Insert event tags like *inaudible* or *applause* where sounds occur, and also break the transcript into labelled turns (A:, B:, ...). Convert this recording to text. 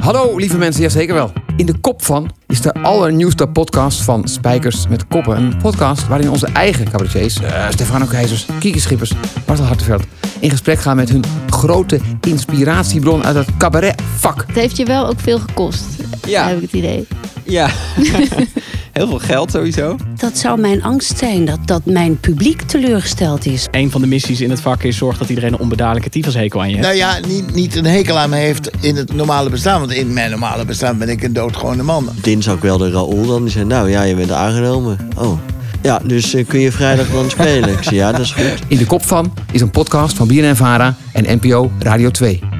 A: Hallo lieve mensen, ja zeker wel. In de kop van is de allernieuwste podcast van Spijkers met Koppen. Een podcast waarin onze eigen cabaretiers, eh, Stefano Keizers, Kieke Schippers, Marcel Hartenveld... in gesprek gaan met hun grote inspiratiebron uit het cabaretvak.
B: Het heeft je wel ook veel gekost,
C: Ja.
B: heb ik het idee.
C: Ja. *laughs* Heel veel geld sowieso.
D: Dat zou mijn angst zijn, dat, dat mijn publiek teleurgesteld is.
E: een van de missies in het vak is zorg dat iedereen een onbedaarlijke tyfushekel aan je hebt.
F: Nou ja, niet, niet een hekel aan me heeft in het normale bestaan. Want in mijn normale bestaan ben ik een doodgewone man.
G: dinsdag wel de Raoul dan. Die zei, nou ja, je bent aangenomen. Oh. Ja, dus eh, kun je vrijdag dan spelen? Ik zei, ja, dat is goed.
A: In de kop van is een podcast van BNN-Vara en NPO Radio 2.